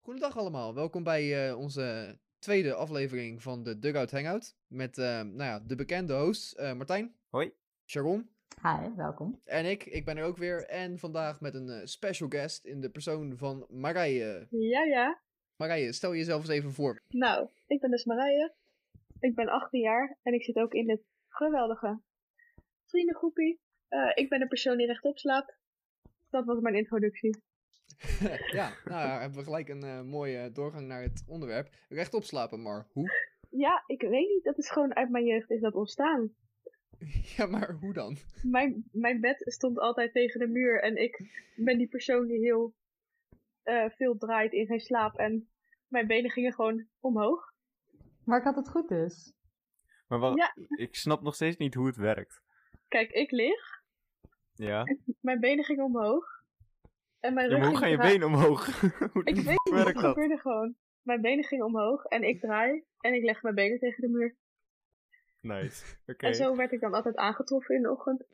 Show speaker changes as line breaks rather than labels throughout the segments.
Goedendag allemaal, welkom bij eh, onze tweede aflevering van de Dugout Hangout. Met eh, nou ja, de bekende hosts eh, Martijn.
Hoi.
Sharon.
Hi, welkom.
En ik, ik ben er ook weer. En vandaag met een eh, special guest in de persoon van Marije.
Ja, ja.
Marije, stel jezelf eens even voor.
Nou, ik ben dus Marije. Ik ben 18 jaar en ik zit ook in dit geweldige vriendengroepie. Eh, ik ben een persoon die rechtop slaapt. Dat was mijn introductie.
ja, nou ja, hebben we gelijk een eh, mooie doorgang naar het onderwerp. Rechtop slapen, maar hoe?
Ja, ik weet niet. Dat is gewoon uit mijn jeugd is dat ontstaan.
ja, maar hoe dan?
Mijn, mijn bed stond altijd tegen de muur en ik ben die persoon die heel eh, veel draait in zijn slaap. En mijn benen gingen gewoon omhoog.
Maar ik had het goed dus.
Maar wat,
Ja.
ik snap nog steeds niet hoe het werkt.
Kijk, ik lig.
Ja.
Mijn benen gingen omhoog. En mijn
ja
rug
maar hoe
ging
gaan je
draaien.
benen omhoog? hoe
Ik
de fuck
weet niet, het
werkt dat?
gebeurde gewoon. Mijn benen gingen omhoog en ik draai en ik leg mijn benen tegen de muur.
Nice. Oké.
En zo werd ik dan altijd aangetroffen in de ochtend.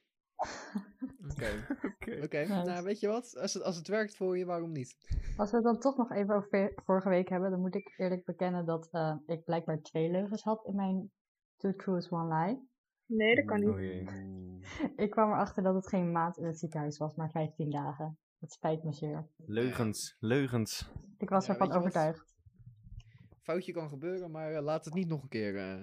Oké,
Oké.
oké.
Nice.
Nou, weet je wat? Als het, als het werkt voor je, waarom niet?
Als we het dan toch nog even over ve- vorige week hebben, dan moet ik eerlijk bekennen dat eh, ik blijkbaar twee leugens had in mijn Two Truths One Lie.
Nee, dat kan niet.
Oei, oei.
Ik kwam erachter dat het geen maand in het ziekenhuis was, maar 15 dagen. Het spijt me zeer.
Leugens, leugens.
Ik was
Ja,
ervan
weet je wat?
overtuigd.
Foutje kan gebeuren, maar eh, laat het niet nog een keer... eh,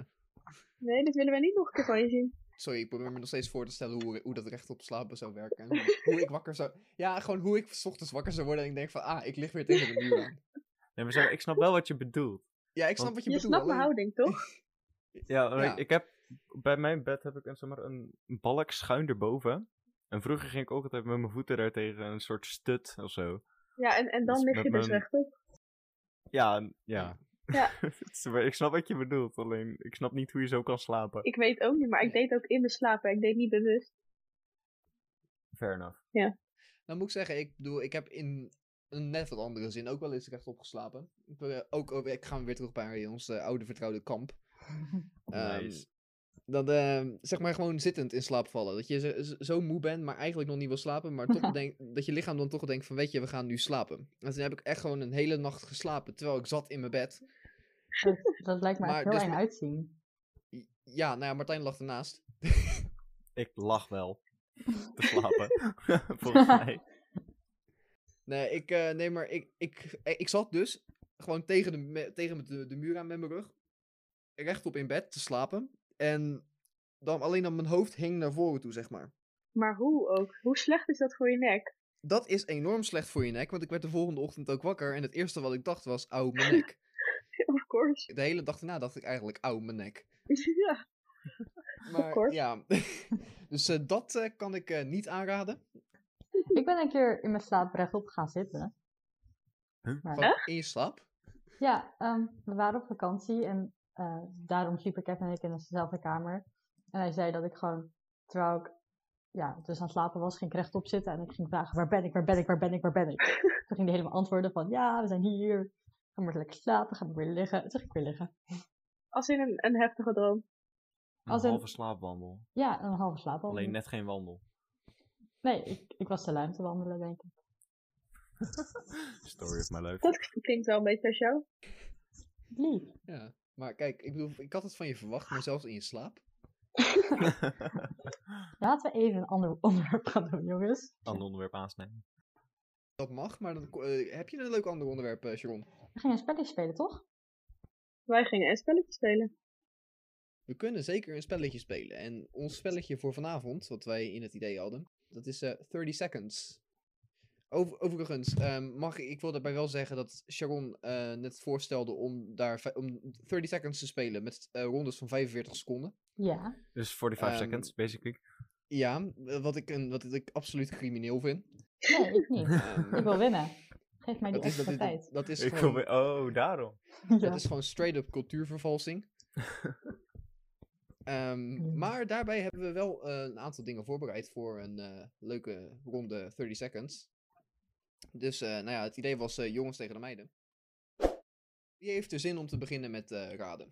Nee, dit willen wij niet nog een keer van je zien.
Sorry, ik probeer me nog steeds voor te stellen hoe, hoe dat recht op slapen zou werken. En hoe, hoe ik wakker zou... Ja, gewoon hoe ik 's ochtends wakker zou worden en ik denk van... Ah, ik lig weer tegen de muur aan.
Nee, maar zeg, ik snap wel wat je bedoelt.
Ja, ik snap
Want-
wat je,
Je,
bedoelt.
snapt mijn
alleen-
houding, toch?
Ja, maar
Ja.
ik heb... Bij mijn bed heb ik een, zeg maar, een balk schuin erboven. En vroeger ging ik ook altijd met mijn voeten daar tegen een soort stut of zo.
Ja, en, en dan
Dus
lig
met
je dus
mijn-
rechtop.
Ja, en- ja.
Ja.
Maar ik snap wat je bedoelt, alleen ik snap niet hoe je zo kan slapen.
Ik weet ook niet, maar ik deed ook in mijn slapen. Ik deed niet bewust.
Fair enough.
Nou moet ik zeggen, ik bedoel, ik heb in een net wat andere zin ook wel eens rechtop geslapen. Ik, ben, eh, ook, ook- ik ga weer terug bij ons eh, oude vertrouwde kamp. Ehm,
Nice.
Dat, ehm, zeg maar gewoon zittend in slaap vallen. Dat je zo, zo- zo moe bent, maar eigenlijk nog niet wil slapen. Maar toch denk, dat je lichaam dan toch denkt van, weet je, we gaan nu slapen. En toen heb ik echt gewoon een hele nacht geslapen, terwijl ik zat in mijn bed.
Dat, dat lijkt me
Maar
echt heel
dus
eng
met-
uitzien.
Ja, nou ja, Martijn lag ernaast.
Ik lach wel. Te slapen. Volgens mij.
Nee, ik, eh, nee maar ik, ik, eh, ik zat dus gewoon tegen, de, me- tegen de, de muur aan met mijn rug. Rechtop in bed te slapen. En dan alleen dan mijn hoofd hing naar voren toe, zeg maar.
Maar hoe ook? Hoe slecht is dat voor je nek?
Dat is enorm slecht voor je nek, want ik werd de volgende ochtend ook wakker. En het eerste wat ik dacht was, auw, mijn nek.
Of course.
De hele dag daarna dacht ik eigenlijk, auw, mijn nek.
ja.
Maar
course.
ja, dus eh, dat eh, kan ik eh, niet aanraden.
Ik ben een keer in mijn slaap rechtop gaan zitten.
Gewoon in je slaap.
Ja, ehm, we waren op vakantie en eh, daarom sliepen Kevin en ik in dezelfde kamer. En hij zei dat ik gewoon, terwijl ik ja, dus aan het slapen was, ging ik rechtop zitten en ik ging vragen, waar ben ik, waar ben ik, waar ben ik, waar ben ik? Toen ging hij helemaal antwoorden van, ja, we zijn hier, ga maar lekker slapen, ga maar weer liggen. Toen ging ik weer liggen.
Als in een, een heftige droom.
Een
Als een-
halve slaapwandel.
Ja, en een halve slaap al.
Alleen net geen wandel.
Nee, ik, ik was te lui om te wandelen, denk ik.
Story of my life.
Dat klinkt wel een beetje als jou.
Lief.
Ja, maar kijk, ik bedoel, ik had het van je verwacht, maar zelfs in je slaap.
Laten we even een ander onderwerp gaan doen, jongens.
Ander onderwerp aansnijden.
Dat mag, maar dan, ko- eh, heb je een leuk ander onderwerp, eh, Sharon?
We gingen een spelletje spelen, toch?
Wij gingen een spelletje spelen.
We kunnen zeker een spelletje spelen. En ons spelletje voor vanavond, wat wij in het idee hadden, dat is eh 30 Seconds. Over, overigens, ehm, mag, ik ik wil daarbij wel zeggen dat Sharon eh, net voorstelde om, daar, vij- om 30 Seconds te spelen met eh, rondes van 45 seconden.
Ja.
Dus 45
Ehm,
seconds, basically.
Ja, eh, wat ik, een, wat ik absoluut crimineel vind.
Nee, ik niet.
Ehm,
Ik wil winnen. Geef mij die
dat, is, dat,
extra
is,
tijd.
dat, is
Ik kom
gewoon,
weer... Oh, daarom.
Ja.
dat is gewoon straight-up cultuurvervalsing. Ehm,
Hmm.
Maar daarbij hebben we wel eh, een aantal dingen voorbereid voor een eh, leuke ronde 30 seconds. Dus eh, nou ja, het idee was eh, jongens tegen de meiden. Wie heeft er zin om te beginnen met eh, raden?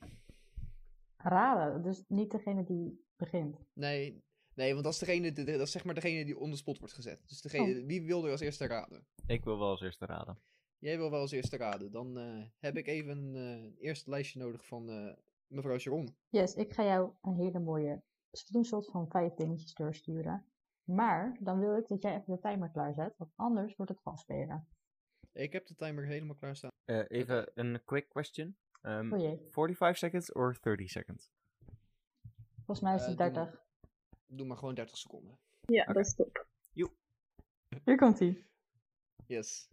Raden, dus niet degene die begint.
Nee, nee want dat is, degene, de- de- dat is zeg maar degene die on the spot wordt gezet. Dus degene, wie wil er als eerste raden?
Ik wil wel als eerste raden.
Jij wil wel als eerste raden. Dan eh, heb ik even een eh, eerste lijstje nodig van eh, mevrouw Sharon.
Yes, ik ga jou een hele mooie screenshot van vijf dingetjes doorsturen. Maar dan wil ik dat jij even de timer klaarzet, want anders wordt het vastspelen.
Ik heb de timer helemaal klaarstaan.
Eh, even een quick question. Ehm,
O Oh jee,
45 seconds or 30 seconds?
volgens mij is het
Eh, doe
30.
Doe maar gewoon 30 seconden.
Ja,
Oké.
dat is top.
Hier komt ie.
Yes.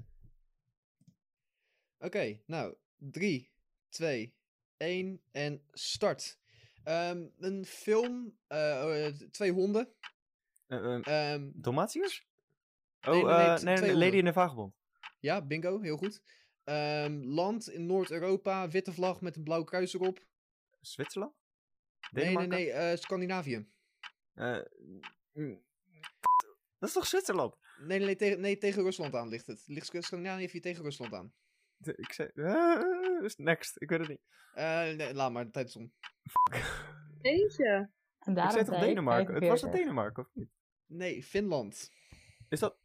Oké, nou. 3, 2, 1 en start. Ehm, een film. eh, eh, twee honden.
Eh, eh,
Ehm,
Dalmatiërs? Oh,
Nee,
nee,
nee, nee, t-
nee,
twee
nee, Lady
honden.
in de Vagebond.
ja, bingo, heel goed. Ehm, land in Noord-Europa. Witte vlag met een blauw kruis erop.
Zwitserland?
Nee, nee,
Denemarken?
nee. eh, Scandinavië.
Eh, mm, dat is toch Zwitserland?
Nee, nee, nee, tegen, nee, tegen Rusland aan ligt het. Ligt Sc- Scandinavië tegen Rusland aan.
De- Ik zei... eh, is next, ik weet het niet.
Eh, nee, laat maar, de tijd is om.
Eentje.
En
ik
daarom
zei toch
zei ik
Denemarken? Het was
45.
het Denemarken, of niet?
Nee, Finland.
Is dat...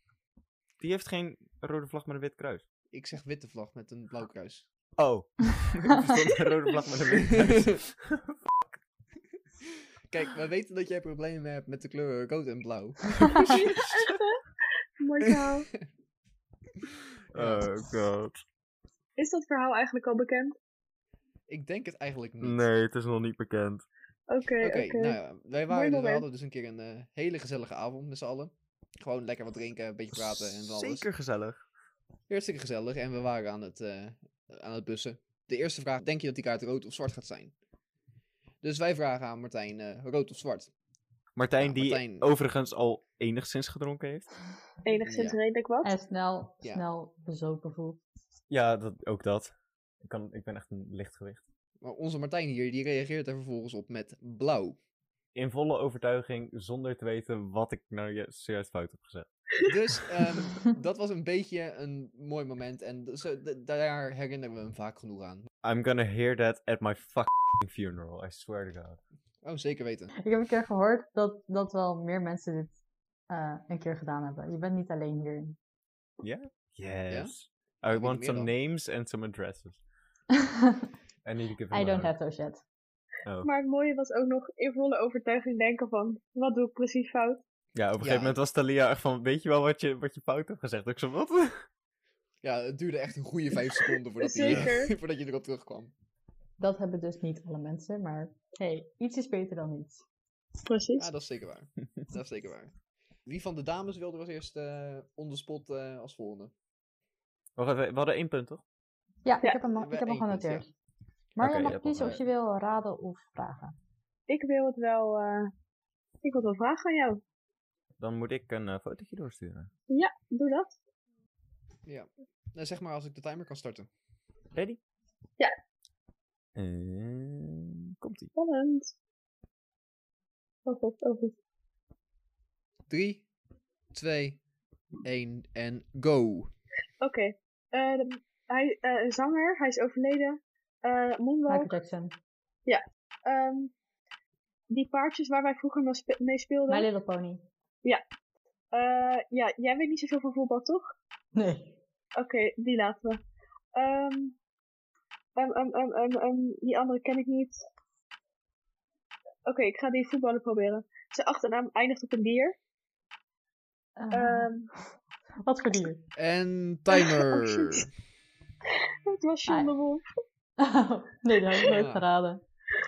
Die heeft geen rode vlag met een wit kruis.
Ik zeg witte vlag met een blauw kruis.
Oh. ik verstond een rode vlag met een wit kruis.
Kijk, we weten dat jij problemen hebt met de kleuren rood en blauw.
Mooi verhaal.
Oh god.
Is dat verhaal eigenlijk al bekend?
Ik denk het eigenlijk niet.
Nee, het is nog niet bekend.
Oké,
Oké,
oké.
nou ja, wij waren dus, we
moment.
hadden dus een keer een eh, hele gezellige avond met z'n allen. Gewoon lekker wat drinken, een beetje praten en van alles.
Zeker gezellig.
Hartstikke gezellig en we waren aan het, eh, aan het bussen. De eerste vraag, denk je dat die kaart rood of zwart gaat zijn? Dus wij vragen aan Martijn, eh, rood of zwart?
Martijn,
Ja,
die
Martijn.
overigens al enigszins gedronken heeft.
Enigszins
Ja.
redelijk wat.
En snel,
Ja.
snel bezopen voelt.
Ja, dat, ook dat. Ik, kan, ik ben echt een lichtgewicht.
Maar onze Martijn hier, die reageert er vervolgens op met blauw.
In volle overtuiging, zonder te weten wat ik nou ju- zojuist fout heb gezet.
Dus ehm, dat was een beetje een mooi moment en d- zo, d- daar herinneren we hem vaak genoeg aan.
I'm gonna hear that at my fucking funeral, I swear to god.
Oh, zeker weten.
Ik heb een keer gehoord dat, dat wel meer mensen dit eh, een keer gedaan hebben. Je bent niet alleen hierin.
Yes. I
weet ik
want
meer
some
dan.
names and some addresses. I need to give them
I don't
out.
have those yet.
Oh.
Maar het mooie was ook nog in volle overtuiging denken van, wat doe ik precies fout?
Ja, op een
Ja.
gegeven moment was Talia echt van, weet je wel wat je, wat je fout hebt gezegd? Ik zo, wat?
Ja, het duurde echt een goede vijf seconden voordat, Hij, eh,
Zeker.
voordat je erop terugkwam.
Dat hebben dus niet alle mensen, maar hey, iets is beter dan niets.
Precies.
Ja, dat is zeker waar. dat is zeker waar. Wie van de dames wilde als eerst eh on the spot eh, als volgende?
Wacht even, we hadden één punt, toch?
Ja,
Ja,
ik heb hem, al-
we
ik heb hem
hebben één punt, ja.
genoteerd. Maar
Oké, je
je mag
hebt al
kiezen of je wil raden of vragen.
Ik wil het wel, eh, ik wil het wel vragen aan jou.
Dan moet ik een eh, fotootje doorsturen.
Doe dat.
Ja. Nou, zeg maar als ik de timer kan starten.
Ready?
Ja.
En komt ie.
Spannend. Oh god, oh god.
3, 2, 1 en go.
Oké. Eh, de- hij, eh, een zanger, hij is overleden. Eh Moonwalk.
Michael Jackson,
ehm, die paardjes waar wij vroeger nog spe- mee speelden.
My Little Pony.
Eh, ja, jij weet niet zoveel van voetbal, toch?
Nee.
Oké, die laten we. Ehm, ehm, ehm, ehm, ehm, ehm, die andere ken ik niet. Oké, ik ga die voetballen proberen. Zijn achternaam eindigt op een dier.
Eh,
Ehm,
wat voor dier?
En timer.
Oh, shit. het was John
Ah.
de Wolf.
nee, dat heb ik nooit
Ja.
geraden.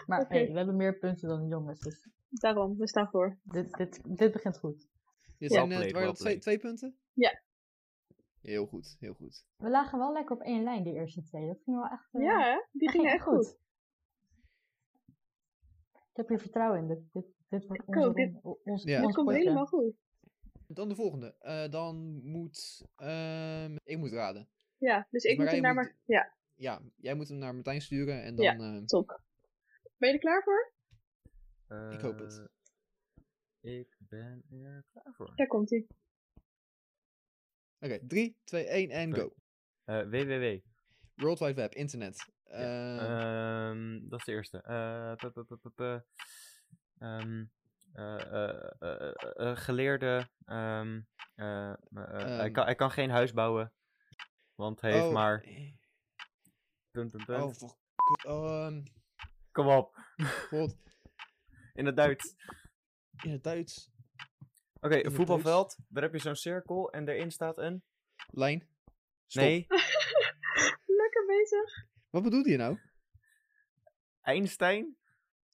Maar
Oké.
hey, we hebben meer punten dan de jongens, dus
Daarom, we staan voor.
dit, dit, dit begint goed.
Dit
Ja.
zijn net,
Well played,
waren
well
dat twee,
played.
twee punten?
Ja.
Heel goed, heel goed.
We lagen wel lekker op één lijn, die eerste twee. Dat ging wel echt... eh,
Ja, hè? die
dat
ging echt goed.
Ik heb hier vertrouwen in. Dit, dit, dit wordt
Ik
onze,
ook, dit-
ronde- ons,
Ja.
ons
Dit komt
potje.
helemaal goed.
Dan de volgende. Eh, dan moet... ehm, ik moet raden.
Ja, dus ik moet
Marije
hem daar
moet-
maar... Ja,
Ja, jij moet hem naar Martijn sturen en dan...
Ja.
eh,
top. Ben je er klaar voor?
Ik hoop het.
Eh, Ik ben er klaar voor.
Daar komt hij.
Oké, 3, 2, 1 en
Oké.
go.
Eh, www.
World Wide Web, internet. Ehm,
Ehm, dat is de eerste. Eh, pa- pa- pa- pa- pa. Ehm, eh, eh, eh, eh, eh, Geleerde. ehm, eh, eh, eh, hij
Ehm.
kan- Hij kan geen huis bouwen. Want hij heeft
Oh,
maar...
eh,
Punt, punt, punt.
Oh, voor kut. ehm,
Kom op.
god.
In het Duits.
In het Duits.
Oké,
het
een voetbalveld. Daar heb je zo'n cirkel en daarin staat een...
Lijn. Stop.
Nee,
Lekker bezig.
Wat bedoelt je nou?
Einstein.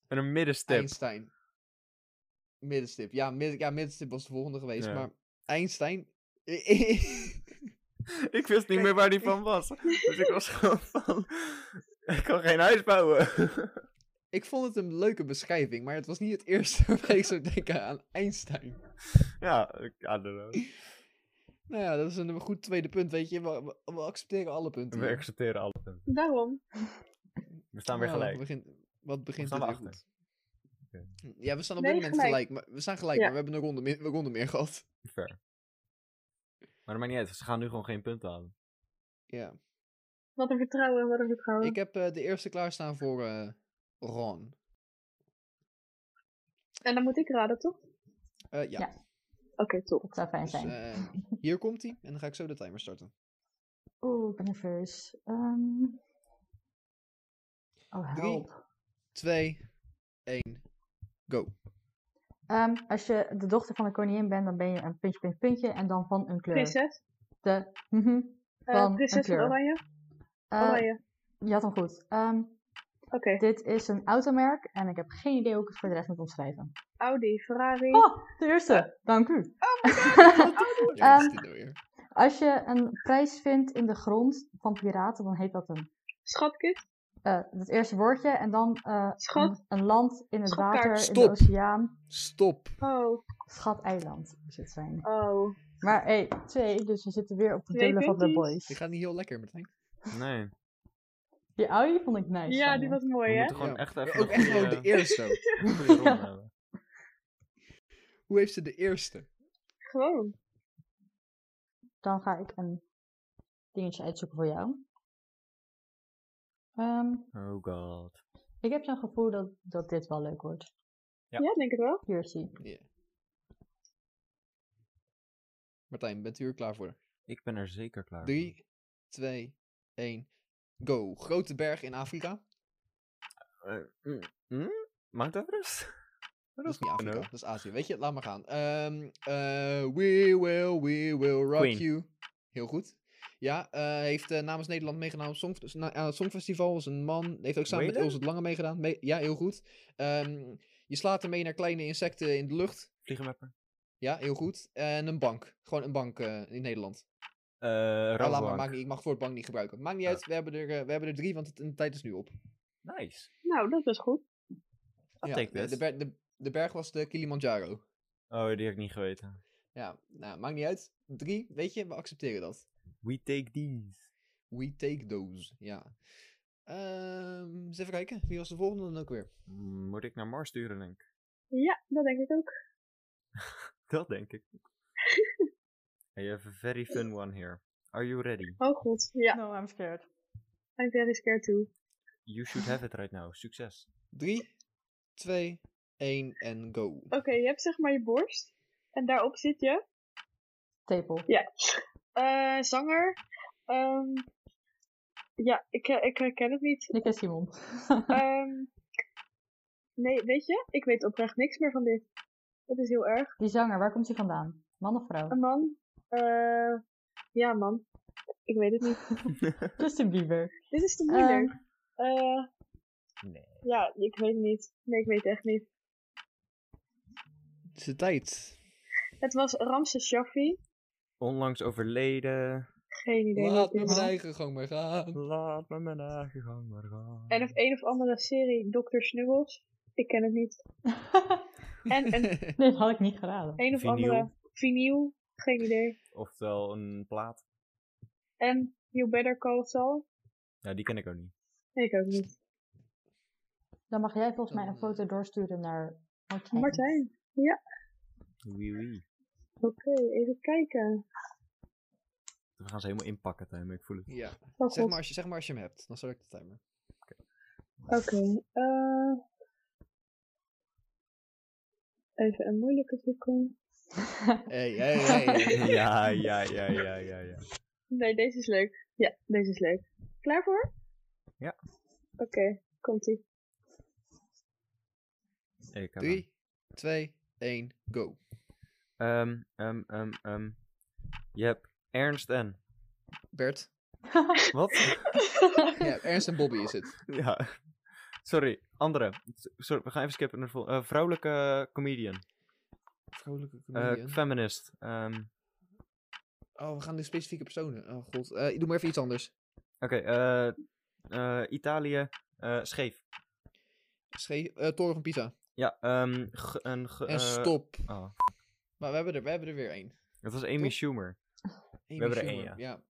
En een middenstip.
Einstein. Middenstip. Ja, midden, ja, middenstip was de volgende geweest.
Ja.
Maar Einstein.
Ik wist niet meer waar die van was. Dus ik was gewoon van... Ik kan geen huis bouwen.
ik vond het een leuke beschrijving, maar het was niet het eerste waarbij ik zou denken aan Einstein.
ja, ik I don't know.
Nou ja, dat is een goed tweede punt, weet je. We, we- we accepteren alle punten.
We
hier.
accepteren alle punten.
Daarom.
We staan weer
Nou,
gelijk.
Wat begint, wat begint
staan
het
we
weer
achter.
goed. Ja, we staan op
Nee,
dit moment
gelijk.
gelijk. maar, we staan gelijk,
Ja.
maar we hebben een ronde, meer, een ronde meer gehad.
Ver. Maar dat maakt niet uit. Ze gaan nu gewoon geen punten halen.
Ja.
Wat een vertrouwen, wat een vertrouwen.
Ik heb eh, de eerste klaarstaan voor eh, Ron.
En dan moet ik raden, toch? Oké,
Eh, ja,
Ja,
top.
Dat zou fijn
dus,
zijn.
eh, hier komt hij. En dan ga ik zo de timer starten.
Oeh, ik ben nerveus. Ehm. Oh,
Drie.
help.
2, 1, go.
Ehm, als je de dochter van de koningin bent, dan ben je een puntje, puntje, puntje en dan van een kleur.
Prinses.
De, mhm.
Eh,
Van een
prinses van
kleur.
Oranje.
Eh,
Oranje.
je had hem goed. Ehm,
Oké.
dit is een automerk en ik heb geen idee hoe ik het voor de rest moet omschrijven.
Audi, Ferrari.
Oh, de eerste. Dank u.
Oh
Ja, wat
Ehm,
is dit nou weer?
Als je een prijs vindt in de grond van piraten, dan heet dat een.
Schatkist.
eh, het eerste woordje en dan eh,
Schat.
een, een land in het
Schatkaart.
water, in
Stop.
de oceaan.
Stop.
Oh,
Schateiland moet het zijn.
oh.
Maar hé, twee, dus we zitten weer op de
Twee
dubbele van de
punties.
Je
boys.
gaat niet heel lekker, Martijn.
Nee.
Die oude vond ik nice.
Oh, ja,
van
die
je.
was
We
mooi, hè?
moeten gewoon
Ja.
echt even
Ook
een
echt gewoon de
goede-
eerste.
goede ronde hebben.
Hoe heeft ze de eerste?
Gewoon.
Dan ga ik een dingetje uitzoeken voor jou. Ehm,
Oh god.
ik heb zo'n gevoel dat, dat dit wel leuk wordt.
Ja.
Ja. denk het wel.
Hier zie ik.
Martijn, bent u er klaar voor?
Ik ben er zeker klaar
3, 2, 1, go. Grote berg in Afrika.
voor. Eh, mm, mm? Mount Everest?
Dat is niet
goed,
Afrika,
hoor.
dat is Azië. Weet je, laat maar gaan. Ehm, eh, we will, we will rock
Queen.
you. Heel goed. Ja, eh, heeft eh, namens Nederland meegedaan op song, na- aan het Songfestival. Is een man. Heeft ook samen met
Waylon?
Ilse het Lange meegedaan. Me- ja, heel goed. Ehm, je slaat ermee naar kleine insecten in de lucht.
Vliegenmapper?
Ja, heel goed. En een bank. Gewoon een bank eh, in Nederland.
Eh,
Ah, laat maar,
Rabobank.
maakt niet- ik mag het woord bank niet gebruiken. Maakt niet
Ja.
uit, we hebben, er, eh, we hebben er drie, want het, de tijd is nu op.
Nice.
Nou, dat is goed.
I'll
Ja,
take
de, de,
this.
ber- de, de berg was de Kilimanjaro.
Oh, die heb ik niet geweten.
Ja, nou, maakt niet uit. Drie, weet je, we accepteren dat.
We take these.
We take those, ja. Ehm, eens even kijken, wie was de volgende dan ook weer?
Mm, Moet ik naar Mars sturen, denk ik.
Ja, dat denk ik ook.
Dat denk ik. hey, you have a very fun one here. Are you ready?
Oh god, ja.
No, I'm scared.
I'm very scared too.
You should have it right now. Succes.
Drie, twee, één en go.
Oké, je hebt zeg maar je borst. En daarop zit je.
Tepel.
Ja. Eh, zanger. Ehm, ja, ik, eh, ik herken het niet.
Ik en Simon.
Ehm, nee, weet je? Ik weet oprecht niks meer van dit. Dat is heel erg.
Die zanger, waar komt hij vandaan? Man of vrouw?
Een man. Eh, ja, man. Ik weet het niet.
Justin Bieber.
Dit is te
Ehm,
moeilijk. Eh,
Nee.
Ja, ik weet het niet. Nee, ik weet het echt niet.
Het is de tijd.
Het was Ramses Shaffi.
Onlangs overleden.
Geen idee
Laat
wat
me
het
mijn
is.
eigen gang maar gaan.
Laat me mijn eigen gang maar gaan.
En of een of andere serie, Dr. Snuggles. Ik ken het niet. En een,
Ehm, nee, dat had ik niet geraden.
een of
Vinyl.
andere vinyl. Geen idee.
Oftewel een plaat.
En You Better Call Saul.
Ja, die ken ik ook niet.
Nee, ik ook niet.
Dan mag jij volgens mij een
Eh.
foto doorsturen naar Martijn.
Martijn.
Wee wee.
Oké, even kijken.
We gaan ze helemaal inpakken, Tim. Ik voel het.
ja,
Oh,
zeg
god.
maar, als je, zeg maar als je hem hebt, dan start ik de timer.
Oké. eh, even een moeilijke zoeken.
Hey, hey, hey. hey.
ja, ja, ja, ja, ja, ja.
Nee, deze is leuk. Ja, deze is leuk. Klaar voor?
Ja.
Oké, komt ie.
Ik heb hem.
3, 2, 1, go.
Ehm, ehm, ehm, ehm. Je hebt Ernst en.
Bert.
Wat?
Ja, Ernst en Bobby is het.
ja. Sorry, andere. S- Sorry, we gaan even skippen naar de volgende. Eh, vrouwelijke comedian.
Vrolijke
Eh,
comedian.
feminist. Ehm,
oh, we gaan de specifieke personen. Oh god. Eh, doe maar even iets anders.
Oké, eh, eh, Italië. eh, scheef.
Schee eh, Toren van Pisa.
Ja, ehm, ge- een. ge-
En
eh,
stop.
oh.
Maar we hebben er, we hebben er weer één.
Dat was Amy
Toch?
Schumer.
Amy
hebben er één,
Schumer, ja.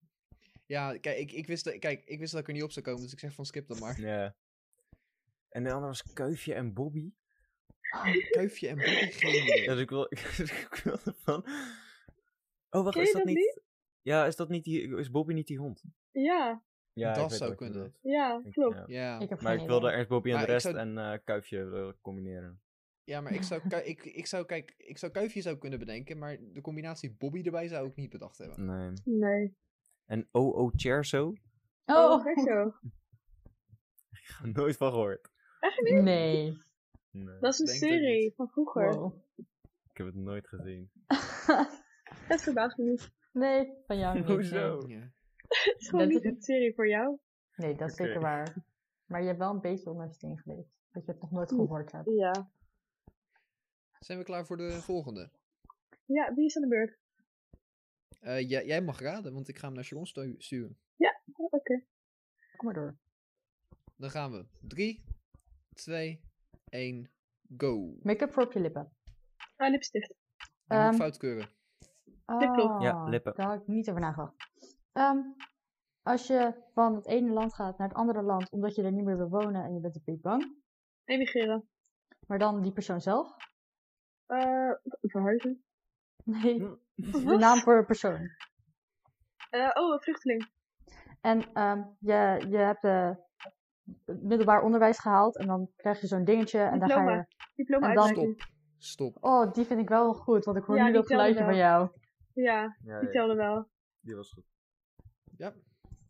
Ja, kijk ik, ik wist, dat- kijk, ik wist dat ik er niet op zou komen, dus ik zeg van skip dan maar.
Ja. En de andere was Kuifje en Bobby.
Kuifje en Bobby, geen idee.
Ja, dus ik wil, ik wilde van. Oh, wacht,
Ken
is
je
dat
dat
niet? Ja, is dat niet die. Is Bobby niet die hond?
Ja,
Ja,
Dat zou kunnen.
ja,
eh,
klopt.
Ja.
Ja,
Ik heb
Maar
geen
ik wilde
idee.
Ernst Bobby en
Maar
de
ik
rest
zou-
en eh, Kuifje willen combineren.
ja maar ik zou, kui- ik, ik zou, kijk, ik zou Kuifje zou kunnen bedenken, maar de combinatie Bobby erbij zou ik niet bedacht hebben.
Nee.
Nee.
En OO Cherso?
Oh,
echt zo.
Nooit van gehoord.
nee.
Nee.
Dat is een
Denk het
serie
niet.
van vroeger.
Wow.
Ik heb het nooit gezien.
Dat verbaast me niet.
nee, van jou niet. nee.
Hoezo?
Ja.
Het is gewoon
Dat
niet
is-
een serie voor jou.
Nee, dat is zeker
Oké.
waar. Maar je hebt wel een beetje onder je steen geleefd. Dat je het nog nooit gehoord hebt.
Ja.
Zijn we klaar voor de volgende?
Ja, wie is aan de beurt?
Eh, jij- jij mag raden, want ik ga hem naar Sharon stu- sturen.
Oh, Oké.
Kom maar door.
Dan gaan we. 3, 2, 1, go.
Make-up voor op je lippen.
Ah, lipstift.
Dan moet ik
Ehm,
fout keuren.
Lippen.
Ja,
Ah,
lippen.
Daar had ik niet over nagedacht. Ehm, als je van het ene land gaat naar het andere land omdat je er niet meer wil wonen en je bent een beetje bang,
Emigreren.
maar dan die persoon zelf?
Eh, verhuizen.
Nee,
Hm.
dat is de naam voor een persoon.
Eh, oh, een vluchteling.
En ehm, je, je hebt eh, het middelbaar onderwijs gehaald en dan krijg je zo'n dingetje en dan ga
Diploma.
je...
Diploma
En Ah, dan-
uitreiking.
Stop. Stop.
Oh, die vind ik wel goed, want ik hoor
Ja,
nu
die
dat geluidje
telde
van jou.
Ja,
Ja,
die telde wel.
die was goed.
Ja.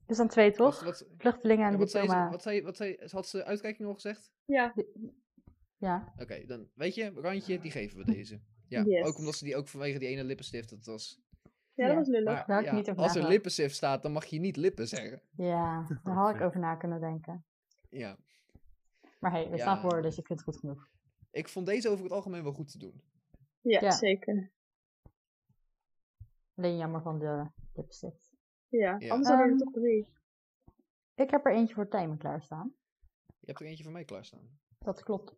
Dus dan twee,
Wat,
toch?
wat,
Vluchtelingen en
ja, wat zei ze?
diploma.
Wat zei, wat zei, had ze uitreiking al gezegd?
Ja,
Ja,
Oké, dan weet je, randje, die geven we deze. Ja,
Yes.
ook omdat ze die ook vanwege die ene lippenstift, dat was...
ja,
Ja.
dat was lullig.
Maar
daar had ik
ja,
niet over
als er
nagedacht.
lippenstift staat, dan mag je niet lippen zeggen.
ja, daar had ik over na kunnen denken.
Ja,
Maar hey, we
Ja.
staan voor, dus ik vind het goed genoeg.
ik vond deze over het algemeen wel goed te doen.
Ja,
Ja.
zeker.
Alleen jammer van de lipstift.
Ja,
Ja.
anders hadden we er
Ehm,
toch drie.
Ik heb er eentje voor Tijmen klaarstaan.
Je hebt er eentje van mij klaarstaan.
Dat klopt.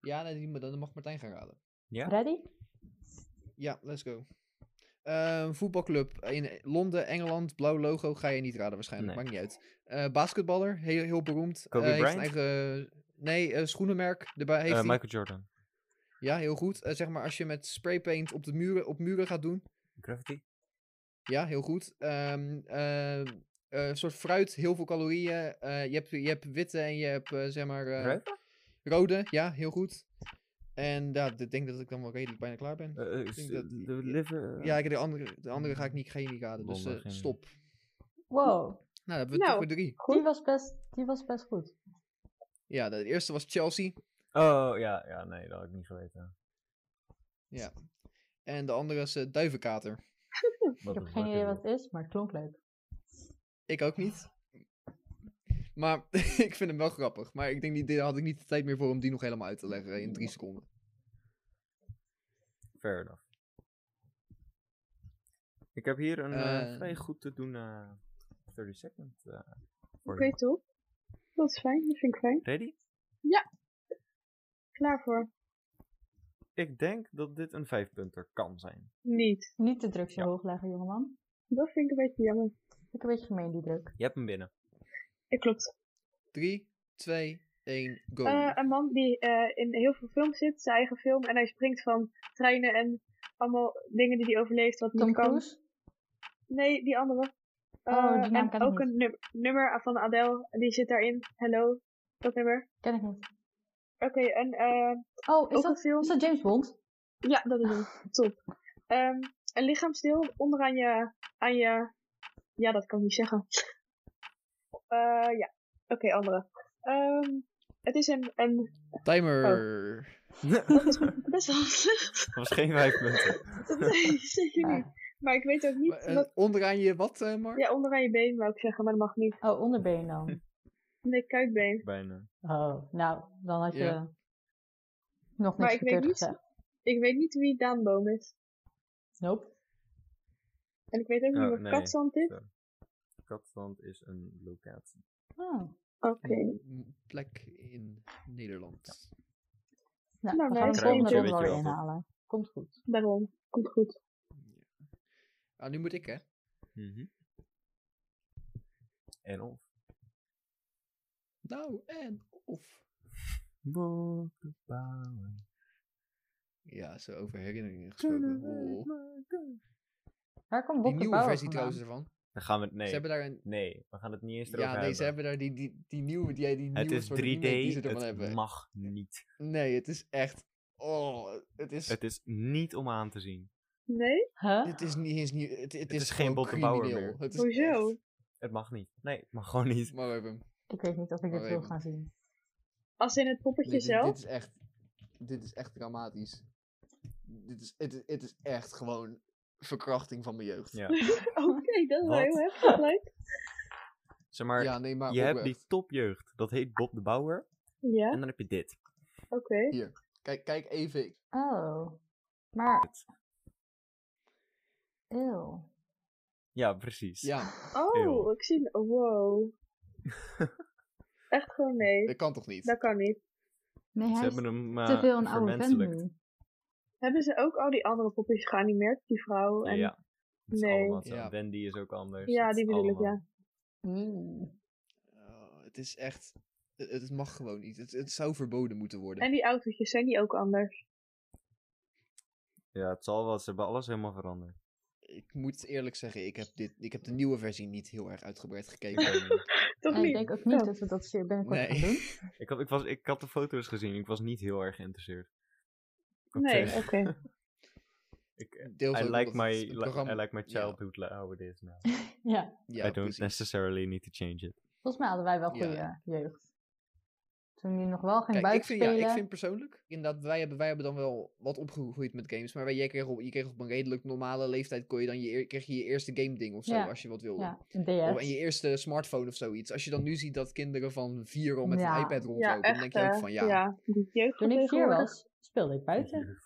Ja, nee, die, ma- dan mag Martijn gaan raden.
Ja.
Ready?
Ja, let's go. Ehm, voetbalclub in Londen, Engeland, blauw logo, ga je niet raden waarschijnlijk,
Nee.
maakt niet uit. Eh, basketballer, heel, heel beroemd.
Kobe
eh, heeft een
Bryant?
eigen, nee, eh, schoenenmerk. Erbij heeft
Eh,
hij.
Michael Jordan.
Ja, heel goed. Eh, zeg maar als je met spraypaint op de muren, op muren gaat doen.
Gravity?
Ja, heel goed. Ehm, ehm, eh, een soort fruit, heel veel calorieën. Eh, je, hebt, je hebt witte en je hebt, eh, zeg maar, eh,
Ruiven?
rode. Ja, heel goed. En ja, ik denk dat ik dan wel redelijk bijna klaar ben.
Eh, eh,
ik
s-
denk dat-
de liver.
ja, ik, de, andere, de andere ga ik niet, ga je niet raden, dus
Wonder,
eh,
geen-
stop.
Wow,
Nou, dan hebben we
Nou.
toch weer drie.
die was best, die was best goed.
Ja, de eerste was Chelsea.
Oh, ja, ja, nee, dat had ik niet geweten.
En de andere is eh, Duivenkater.
Wat
ik
een
heb geen idee
fucking-
wat het is, maar het klonk leuk.
Ik ook niet. Maar ik vind hem wel grappig. Maar ik denk, niet, daar had ik niet de tijd meer voor om die nog helemaal uit te leggen in drie seconden.
Fair enough. Ik heb hier een eh,
Eh.
vrij goed te doen eh 30 second. eh, voor
Oké,
je.
top. Dat is fijn, dat vind ik fijn.
Ready?
Klaar voor?
Ik denk dat dit een vijfpunter kan zijn.
Niet.
Niet de druk zo
Ja.
hoog leggen, jongeman.
Dat vind ik een beetje jammer.
Vind Ik een beetje gemeen, die druk.
Je hebt hem binnen.
Ik klopt.
Drie, twee, één, go.
Eh, een man die eh, in heel veel films zit, zijn eigen film, en hij springt van treinen en allemaal dingen die hij overleeft wat
Tom
niet kan.
Cruise?
Nee, die andere.
Oh,
Eh,
die naam
en
ken ik
ook
niet.
een nummer, nummer van Adele, die zit daarin. Hello, dat nummer.
Ken ik niet.
Oké, en eh,
Oh, is
ook een
dat,
film.
is dat James Bond?
Ja, dat is hem. Top. Ehm, een lichaamsdeel onderaan je, aan je Ja, dat kan ik niet zeggen. Eh, ja, oké, andere. Ehm, het is een, een...
Timer.
oh.
dat
Best wel slecht.
was geen vijf punten.
nee, zeker niet. Maar ik weet ook niet...
Maar, eh,
wat-
onderaan je wat, eh, Mark?
Ja, onderaan je been wou ik zeggen, maar dat mag niet.
Oh, onderbeen dan.
Nee, kuitbeen.
Bijna.
Oh, nou, dan had je
Ja.
nog niks
Maar ik weet
verkeerd
niet-
gezegd.
Ik weet niet wie Daan Boom is.
Nope.
En ik weet ook
Oh,
niet wat
nee.
katzand is.
Katstand is een locatie.
Nou,
Ah,
Oké.
Een Plek in Nederland.
nou,
Nou,
we
nee,
gaan
ik
de
zei
volgende
al. Weet
ronde weer
het
je wel, toch?
inhalen. Komt goed.
Daarom. Komt goed.
Ah, nu moet ik, hè? Mhm.
En of.
Nou, en of. Ja, zo over herinneringen gesproken. Oh.
Waar
Die
komt Bob de
nieuwe
Bauer
versie
vandaan?
trouwens ervan.
Dan gaan we het...
Ze
Nee.
hebben daar een...
Nee, we gaan het niet eens erover
Ja, nee,
hebben.
ze hebben daar die, die, die nieuwe, die, die
het
nieuwe
is
soort remake die ze
3D,
ervan
het
hebben.
mag niet.
Nee, het is echt... Oh, het is...
Het is niet om aan te zien.
Nee?
Huh?
Het is niet eens nieuw. Het, het, is,
is geen
gewoon
Bob de Bauer
crimineel.
meer.
Het is
Hoezo?
echt-
Het mag niet. Nee, het mag gewoon niet.
Maar we hebben hem.
Ik weet niet of ik
Maar
dit wil
even.
gaan zien.
Als in het poppetje
Nee, dit,
zelf?
dit is echt... Dit is echt dramatisch. Dit is, het, is- het is echt gewoon verkrachting van mijn jeugd.
Ja.
Oké, dat is wel
Wat?
heel heftig lijkt.
Zeg maar,
Ja, nee, maar
je hebt die
oprecht.
topjeugd. Dat heet Bob de Bouwer.
Ja,
En dan heb je dit.
oké.
Kijk, kijk even.
Oh. Maar...
Het-
Eeuw.
Ja, precies.
Ja,
Oh,
Eeuw.
ik zie... Wow. Echt gewoon nee.
dat kan toch niet?
Dat kan niet.
Nee,
Ze
hij is
hebben hem eh
te veel een oude vent
vermenselijkt.
nu.
Hebben ze ook al die andere poppetjes geanimeerd? Die vrouw en...
Ja. Het is
Nee.
allemaal zo.
Ja.
Wendy is ook anders.
Ja,
Het is
die bedoel ik,
allemaal-
ja.
Mm.
Oh, het is echt... Het, het mag gewoon niet. Het, het zou verboden moeten worden.
En die autootjes, zijn die ook anders?
Ja, het zal wel. Ze hebben alles helemaal veranderd.
Ik moet eerlijk zeggen, ik heb, dit, ik heb de nieuwe versie niet heel erg uitgebreid gekeken.
Toch
En ik
niet?
denk ook niet
Ja.
dat we dat zeer binnenkort
Nee.
gaan doen.
ik, had, ik, was, ik had de foto's gezien. Ik was niet heel erg geïnteresseerd. Ik had
Nee,
gezegd,
oké.
ik, eh,
Deels
I,
ook
like
omdat het
my,
een
li-
programma-
I like my
ja.
childhood like how it is now.
Ja,
Ja,
I don't
precies.
necessarily need to change it.
volgens mij hadden wij wel
Ja.
goede jeugd. Toen je nog wel ging
Kijk, ik vind, ja,
buitenspelen.
ik vind persoonlijk, inderdaad, wij hebben, wij hebben dan wel wat opgegroeid met games, maar wij, jij kreeg op, je kreeg op een redelijk normale leeftijd, kon je dan je, eer- kreeg je je eerste game ding of zo,
Ja,
als je wat wilde.
Ja, een
Of
DS.
Oh, en je eerste smartphone of zoiets. Als je dan nu ziet dat kinderen van vier al met
Ja.
een iPad rondlopen,
Ja,
dan
echt
denk je ook
hè.
van ja.
Ja, die jeugd
Toen ik vier
tegenwoordig.
was, speelde ik buiten.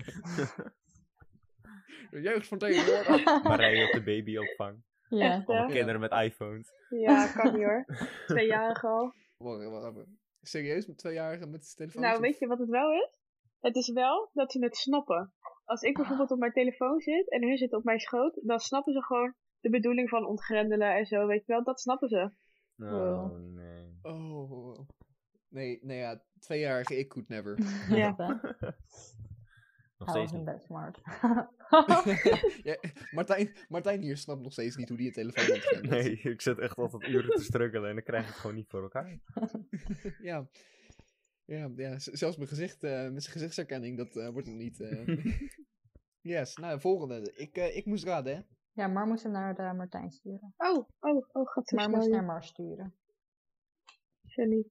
De jeugd van tegenwoordig.
Marije op de babyopvang.
ja.
Echt hè.
Allemaal kinderen met iPhones.
Ja, kan niet hoor. Tweejarig al.
Wacht, wacht, wacht. Serieus, met tweejarigen met telefoon?
Nou, weet je wat het wel is? Het is wel dat ze het snappen. Als ik bijvoorbeeld op mijn telefoon zit en hun zitten op mijn schoot, dan snappen ze gewoon de bedoeling van ontgrendelen en zo, weet je wel. Dat snappen ze.
Oh, nee.
Oh. Nee, nee ja, tweejarige ik could never.
Ja.
Nog
Hij
steeds
was een
niet.
best smart.
Ja, Martijn, Martijn hier snapt nog steeds niet hoe die een telefoon ontgrendelt.
Nee, ik zit echt altijd uren te struggelen en dan krijg ik het gewoon niet voor elkaar.
Ja. Ja, ja, z- zelfs mijn gezicht, eh, met zijn gezichtsherkenning, dat eh, wordt hem niet. eh. yes, nou, volgende. Ik, eh, ik moest raden, hè?
ja, maar moest hem naar de Martijn sturen.
Oh, oh, oh, gaat zo
Maar
snel.
moest
joh.
naar Mar sturen.
Sorry.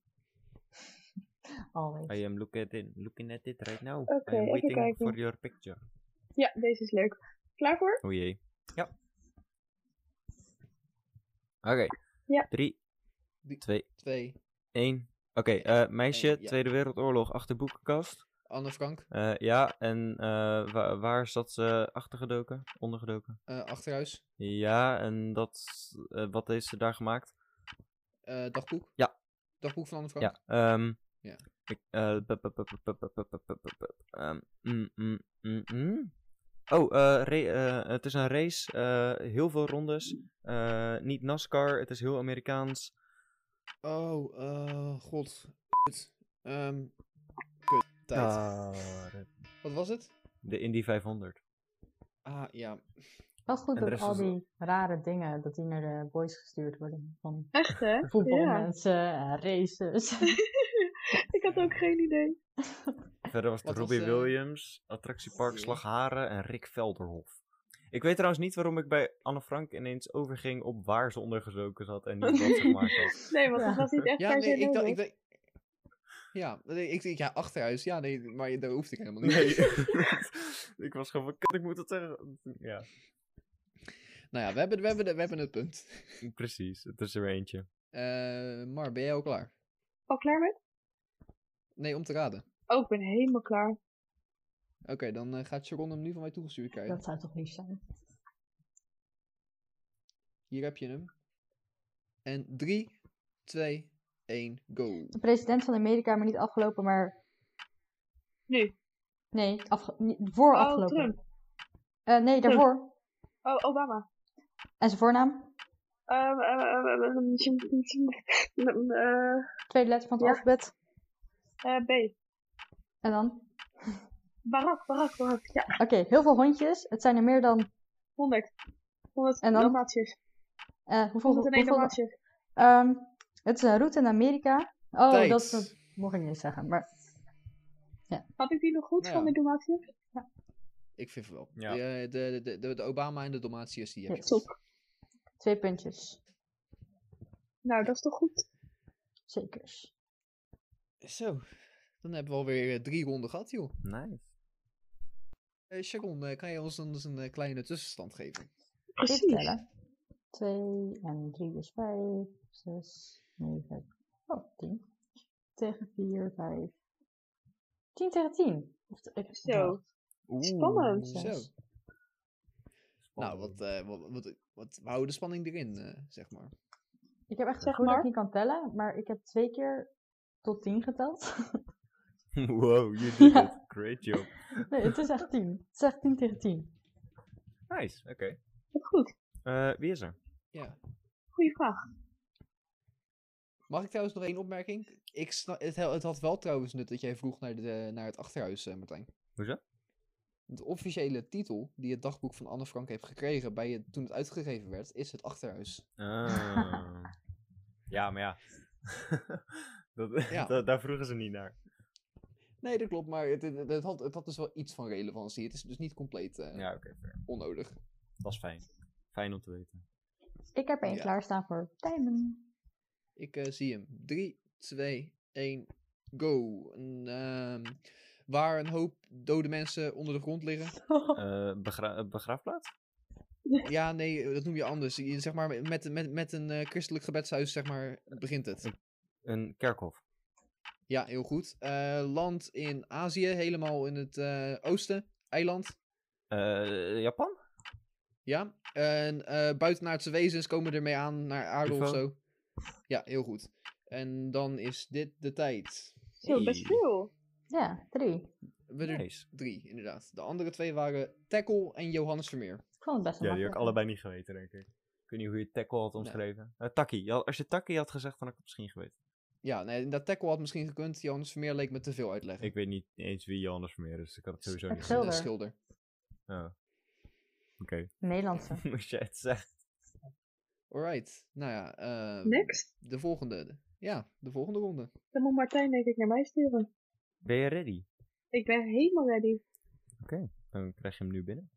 Alweer.
I am look at it, looking at it right now.
Oké,
I am
even
waiting
kijken.
for your picture.
Ja, deze is leuk. Klaar voor?
O jee. Ja. Oké.
Ja.
3,
Die-
2,
Twee.
1. Oké, eh, meisje,
Eén, ja.
Tweede Wereldoorlog, achter boekenkast.
Anne Frank,
Eh, ja, en eh, wa- waar zat ze achtergedoken? Ondergedoken?
eh, Achterhuis,
Ja, en dat, eh, wat heeft ze daar gemaakt?
eh, Dagboek.
Ja.
Dagboek van Anne Frank.
Ja, ehm.
Ja.
Ik, eh, pup, pup, pup, pup, pup, pup, pup, pup, pup, pup, ehm, mm, mm, mm, mm. Oh, eh, ra- eh, het is een race. eh, heel veel rondes. eh, niet NASCAR. Het is heel Amerikaans.
Oh, eh, god. Kut. Ehm, kut. Tijd.
Ah.
Wat was het?
De Indy 500.
Ah, ja.
Wel goed
En de
dat
rest
al
was wel-
die rare dingen, dat die naar de boys gestuurd worden. Van
Echt hè?
voetbalmensen, eh, races.
Ik had ook geen idee.
Verder was het
Wat was,
Robbie
eh,
Williams, Attractiepark
Jee.
Slagharen en Rick Velderhof. Ik weet trouwens niet waarom ik bij Anne Frank ineens overging op waar ze ondergezoken zat en niet wat ze gemaakt had.
Nee, want
Ja.
dat was niet echt
Ja,
per
nee,
se
ik dacht...
nodig.
Ik dacht ja, nee, ik, ik, ja, achterhuis. Ja, nee, maar daar hoefde ik helemaal niet.
Nee. ik was gewoon van, "Kut, ik moet het zeggen. Ja,
Nou ja, we hebben, we, hebben, we hebben het punt.
precies. Het is er weer eentje.
Eh, Mar, ben jij al klaar?
Al klaar met?
Nee, om te raden.
Oh, ik ben helemaal klaar.
Oké, dan eh, gaat Sharon hem nu van mij toegestuurd krijgen.
Dat zou toch lief zijn.
Hier heb je hem. En 3, 2, 1, go.
De president van Amerika, maar niet afgelopen, maar...
Nu.
Nee, afge- niet- voor
Oh,
afgelopen.
Trump.
Eh, nee, daarvoor.
Oh, Obama.
En zijn voornaam?
Ehm, ehm, ehm, ehm, ehm, ehm, eh,
Tweede letter van het
Ja.
alfabet.
eh, B.
En dan?
Barak, Barak, Barak. Ja,
Oké, heel veel hondjes. Het zijn er meer dan...
100. 100
En dan?
Dalmatiërs.
eh hoeveel,
101
hoeveel,
Dalmatiërs.
Ehm, het is een route in Amerika. Oh,
Tijd.
dat, dat mocht ik niet eens zeggen. Maar
Had ik die nog goed
Nou
van
ja.
de Dalmatiërs?
Ik vind het wel.
Ja.
De, de, de, de, de Obama en de Domatius die heb je.
Ja,
goed.
twee puntjes.
Nou, dat is toch goed?
Zekers.
Zo, dan hebben we alweer eh, drie ronden gehad, joh.
Nice.
Eh Sharon, eh, kan jij ons dan eens een eh, kleine tussenstand geven?
Dit
Precies.
tellen. Twee en drie is vijf, zes, negen, oh, tien. Tegen vier, vijf. Tien tegen tien. Of t- ik-
Zo.
Oeh,
Spannend.
zes.
Zo. Nou,
spannend.
wat, eh, wat, wat, wat, we houden de spanning erin, eh, zeg maar.
Ik heb echt
Zeg
gevoel dat ik
maar.
niet kan tellen, maar ik heb twee keer tot tien geteld.
wow, you did
Ja.
it. Great job.
nee, het is echt tien. Het is echt tien tegen tien.
Nice, oké.
Wat goed.
Eh, wie is er?
Ja.
Goeie vraag.
Mag ik trouwens nog één opmerking? Ik sna- het, he- het had wel trouwens nut dat jij vroeg naar, de, naar het achterhuis, eh, Martijn.
Hoezo?
De officiële titel die het dagboek van Anne Frank heeft gekregen bij het, toen het uitgegeven werd, is het achterhuis.
Ah. ja, maar ja. dat,
Ja.
da- daar vroegen ze niet naar.
Nee, dat klopt, maar het, het, het had, het had dus wel iets van relevantie. Het is dus niet compleet eh,
Ja, oké, fair.
onnodig.
Dat is fijn. Fijn om te weten.
Ik heb er één
Ja.
klaarstaan voor Tijmen.
Ik eh, zie hem. 3, 2, 1, go. En, ehm, waar een hoop dode mensen onder de grond liggen.
Eh, begra- eh, begraafplaats?
Ja, nee, eh, dat noem je anders. Je- Zeg maar, met, met, met een eh, christelijk gebedshuis zeg maar, begint
Hm.
het.
Een kerkhof.
Ja, heel goed. Eh, land in Azië, helemaal in het eh, oosten. Eiland.
Eh, Japan?
Ja, en eh, buitenaardse wezens komen ermee aan naar aarde of
UFO.
zo. Ja, heel goed. En dan is dit de tijd.
Zo, best
Hey.
veel.
Ja, drie.
We hebben er
Nice.
drie, inderdaad. De andere twee waren Tackle en Johannes Vermeer.
Ik vond het best wel
Ja, die heb ik
makkelijk.
allebei niet geweten, denk ik. Ik weet niet hoe je tackle had omschreven. Eh takkie. Ja, als je takkie had gezegd, dan had ik het misschien geweten.
Ja, nee, dat Tackle had misschien gekund. Johannes Vermeer leek me te veel uitleggen.
Ik weet niet eens wie Johannes Vermeer is, dus ik had het sowieso
Het
niet
Eh,
gezien.
scheelt-
schilder.
Schilder.
Oh. Oké,
Nederlandse.
moest jij het zeggen.
Alright, nou ja.
Eh.
ehm,
Next.
De volgende. Ja, de volgende ronde.
Dan moet Martijn denk ik naar mij sturen.
Ben je ready?
Ik ben helemaal ready.
Dan krijg je hem nu binnen.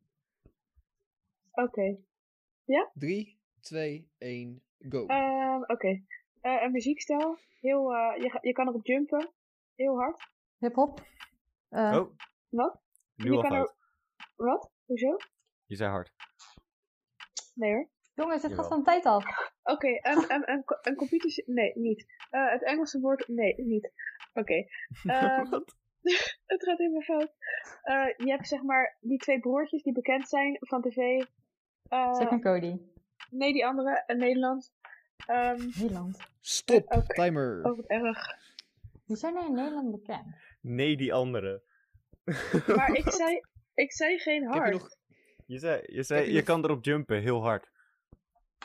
Oké.
Drie, twee, één, go.
Ehm, Oké. Eh, een muziekstijl. Heel, eh, je, ga- je kan erop jumpen. Heel hard.
Hip-hop. Eh,
oh,
Wat?
nu
je
al
kan
fout.
Wat? Hoezo?
Je zei hard.
Nee hoor.
Jongens, dit
Jawel.
gaat van de tijd af.
Oké, ehm, ehm, ehm, co- een computer... Nee, niet. Eh, het Engelse woord... Nee, niet. Oké. Ehm,
Wat?
het gaat even fout. Eh, je hebt zeg maar die twee broertjes die bekend zijn van tv. Eh,
Zack en Cody.
nee, die andere, een Nederlands. Ehm
Nederland.
Stop,
eh, oké.
timer.
oh, wat erg.
Die zijn er in Nederland bekend.
Nee, die andere.
Maar ik zei, ik zei geen
Heb je
hard.
nog...
Je zei, je, zei,
Heb je
je
nog-
kan erop jumpen, heel hard.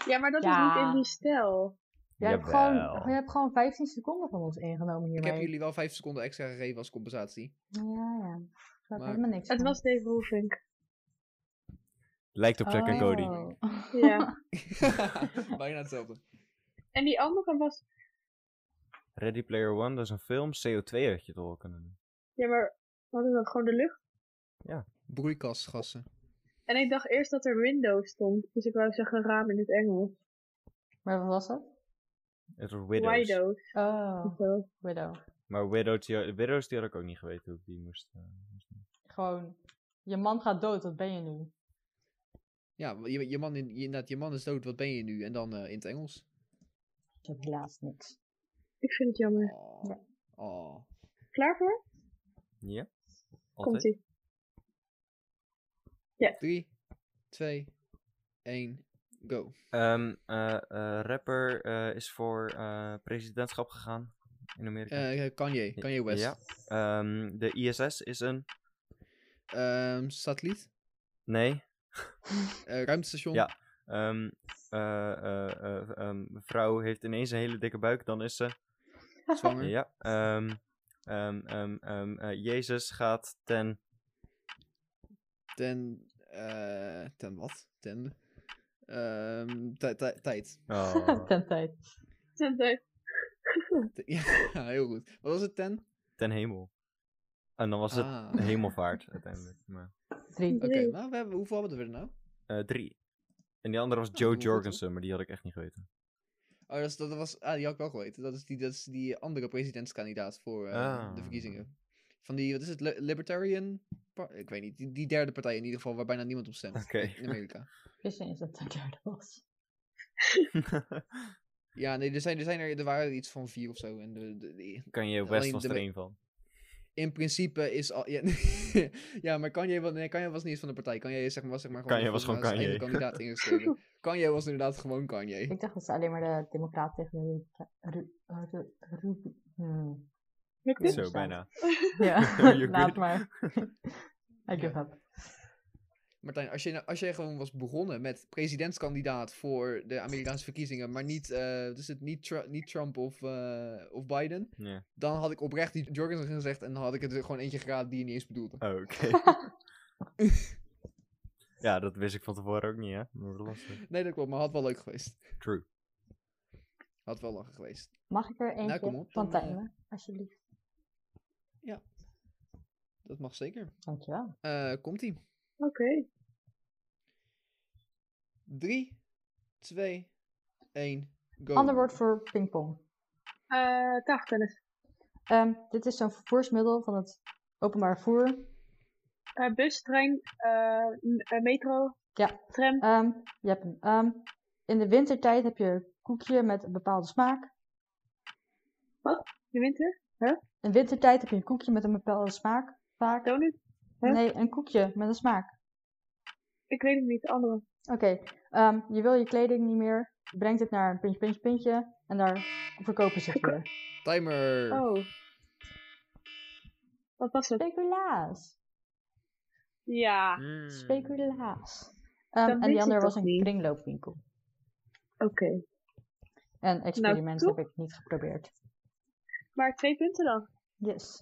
Ja, maar dat is
Ja.
niet in die stijl.
Jij hebt gewoon,
Jawel.
je hebt gewoon 15 seconden van ons ingenomen
Ik
hiermee.
heb jullie wel vijf seconden extra gegeven als compensatie.
Ja, ja. Dat
Maar-
had me niks.
Het
aan.
was Dave Roelvink.
Lijkt op Zack en Cody.
Oh.
Ja.
Bijna hetzelfde.
en die andere was...
Ready Player One, dat is een film. CO2 had je het al kunnen doen.
Ja, maar wat is dat? Gewoon de lucht?
Broeikasgassen.
En ik dacht eerst dat er window stond. Dus ik wou zeggen raam in het Engels.
Maar wat was het?
Het wordt Widows.
Widows.
Oh,
of zo.
widow.
Maar Widows die, Widows, die had ik ook niet geweten hoe ik die moest... eh, moest doen.
Gewoon, je man gaat dood, wat ben je nu?
Ja, je, je, man in, je, inderdaad, je man is dood, wat ben je nu? En dan eh, in het Engels.
Ik heb helaas niks.
Ik vind het jammer.
Oh.
Ja.
Oh.
Klaar voor?
Ja?
Komt
Altijd?
ie.
3, 2, 1, go.
Ehm, eh, eh, rapper eh, is voor eh, presidentschap gegaan in Amerika.
Eh Kanye, Kanye West.
Ja. Ehm, de ISS is een...
Ehm, satelliet,
Nee.
Eh, ruimtestation.
Ja. Ehm, eh, eh, eh, ehm, Een vrouw heeft ineens een hele dikke buik, dan is ze...
Zwanger.
Ja. ehm, ehm, ehm, ehm, eh, Jezus gaat ten...
Ten, eh, ten wat? Ten, ehm, tij- tij- tijd.
Oh,
Ten tijd.
Tenzij-
Te- Ja, heel goed. Wat was het, ten?
ten hemel. En dan was het
Ah.
hemelvaart uiteindelijk. Maar,
Drie.
Oké,
Drie.
maar we hebben, hoeveel hebben we er nou?
eh, drie. En die andere was
dat
Joe
is wel Oh, goed, hoor.
Jorgensen, maar die had ik echt niet geweten.
Oh, dat, is, dat was, ah, die had ik wel geweten. Dat is die, dat is die andere presidentskandidaat voor eh, de
Ah.
verkiezingen. Van die, wat is het, Li- Libertarian? Par- Ik weet niet, die, die derde partij in ieder geval, waar bijna niemand op stemt
Oké.
in Amerika.
Ik wist niet eens dat het de derde was.
Ja, nee, er, zijn, er, zijn er, er waren er iets van vier of zo. En de, de, de-
kan je
Alleen
West was
de
er
me-
één van.
in principe is al. Ja, ja maar Kanye, wa- nee, Kanye was niet eens van de partij. Kanye zeg maar, was, zeg maar gewoon.
Kanye was
volgens
gewoon
mij als
Kanye.
enige kandidaat ingeschreven. Kanye was inderdaad gewoon Kanye.
Ik dacht dat ze alleen maar de democraat tegen de Ru- Ru- Ru- Ru- hmm.
Lukt
Ja.
dit?
Zo bijna.
Ja,
You're
laat
good.
maar. I give up.
Martijn, als jij, nou- als jij gewoon was begonnen met presidentskandidaat voor de Amerikaanse verkiezingen, maar niet, eh, dus het, niet, Tru- niet Trump of, eh, of Biden,
Ja.
dan had ik oprecht die Jorgensen gezegd en dan had ik het gewoon eentje geraden die je niet eens bedoelde.
Oh, Oké. ja, dat wist ik van tevoren ook niet, hè? Maar dat was het.
Nee, dat klopt, maar had wel leuk geweest.
True.
Had wel lachen geweest.
Mag ik er eentje
Nou, kom op,
van
dan, eh,
Tijmen, alsjeblieft?
Dat mag zeker.
Dankjewel.
Eh, Komt-ie.
Oké.
3, 2, 1, go.
Ander woord voor pingpong.
Eh, tafeltennis.
Ehm, dit is zo'n vervoersmiddel van het openbaar vervoer.
Eh, bus, trein, eh, m- eh, metro.
Ja.
Tram.
Ehm, je hebt hem. Ehm, in de wintertijd heb je koekje met een bepaalde smaak.
De winter.
In wintertijd heb je een koekje met een bepaalde smaak. Vaak.
Donut. Hè?
Nee, een koekje met een smaak.
Ik weet het niet. de Andere.
Oké, ehm, je wil je kleding niet meer. Je brengt het naar een pintje, pintje, pintje. En daar verkopen ze het weer.
Timer.
Oh. Wat was het?
Speculaas.
Ja.
Speculaas. Hmm.
Dat
Ehm, en
wist
die
ik
ander
toch
was een
niet.
kringloopwinkel.
Oké.
En experiment
toch?
heb ik niet geprobeerd.
Maar twee punten dan.
Yes.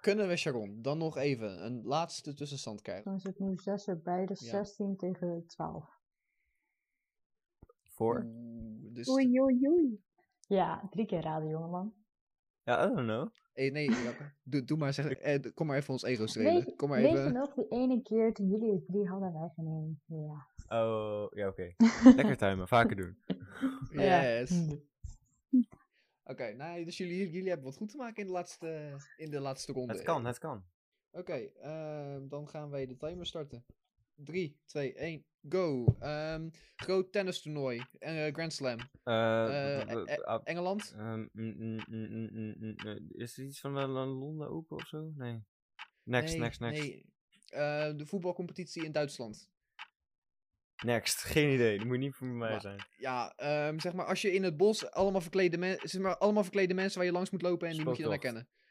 Kunnen we Sharon dan nog even een laatste tussenstand
Oh.
krijgen?
Dan is het nu 6 erbij, dus
Ja.
16 tegen 12.
Voor?
Oeh, dus
Oei, oei, oei.
Ja, drie keer raden, jongeman.
Ja, I don't know.
eh, nee, Jakke, doe, doe maar zeg, eh, d- kom maar even ons ego strelen.
Weet,
Kom maar
weet je
even.
nog die ene keer toen jullie het drie hadden en wij geen één? Ja.
Oh, ja, oké. Lekker timen, vaker doen.
Yes.
Hmm.
Oké,
Ja.
nou, dus jullie, jullie hebben wat goed te maken in de laatste, in de laatste ronde.
Het kan, het kan.
Oké, ehm, dan gaan wij de timer starten. 3, 2, 1, go. Ehm, groot tennistoernooi. eh, Grand Slam.
Eh,
Eh,
b- b-
eh,
ah,
Engeland?
ehm, mm, mm, mm, mm, mm, mm, eh, Is er iets van de Londen Open of zo? Nee. Next,
Nee,
next, next.
nee. Eh, de voetbalcompetitie in Duitsland.
Next, geen idee. Dat moet niet voor mij
Maar-
zijn.
Ja, ehm, zeg maar, als je in het bos allemaal verklede, men- zeg maar, allemaal verklede mensen waar je langs moet lopen en die moet je dan
Spooktocht.
herkennen.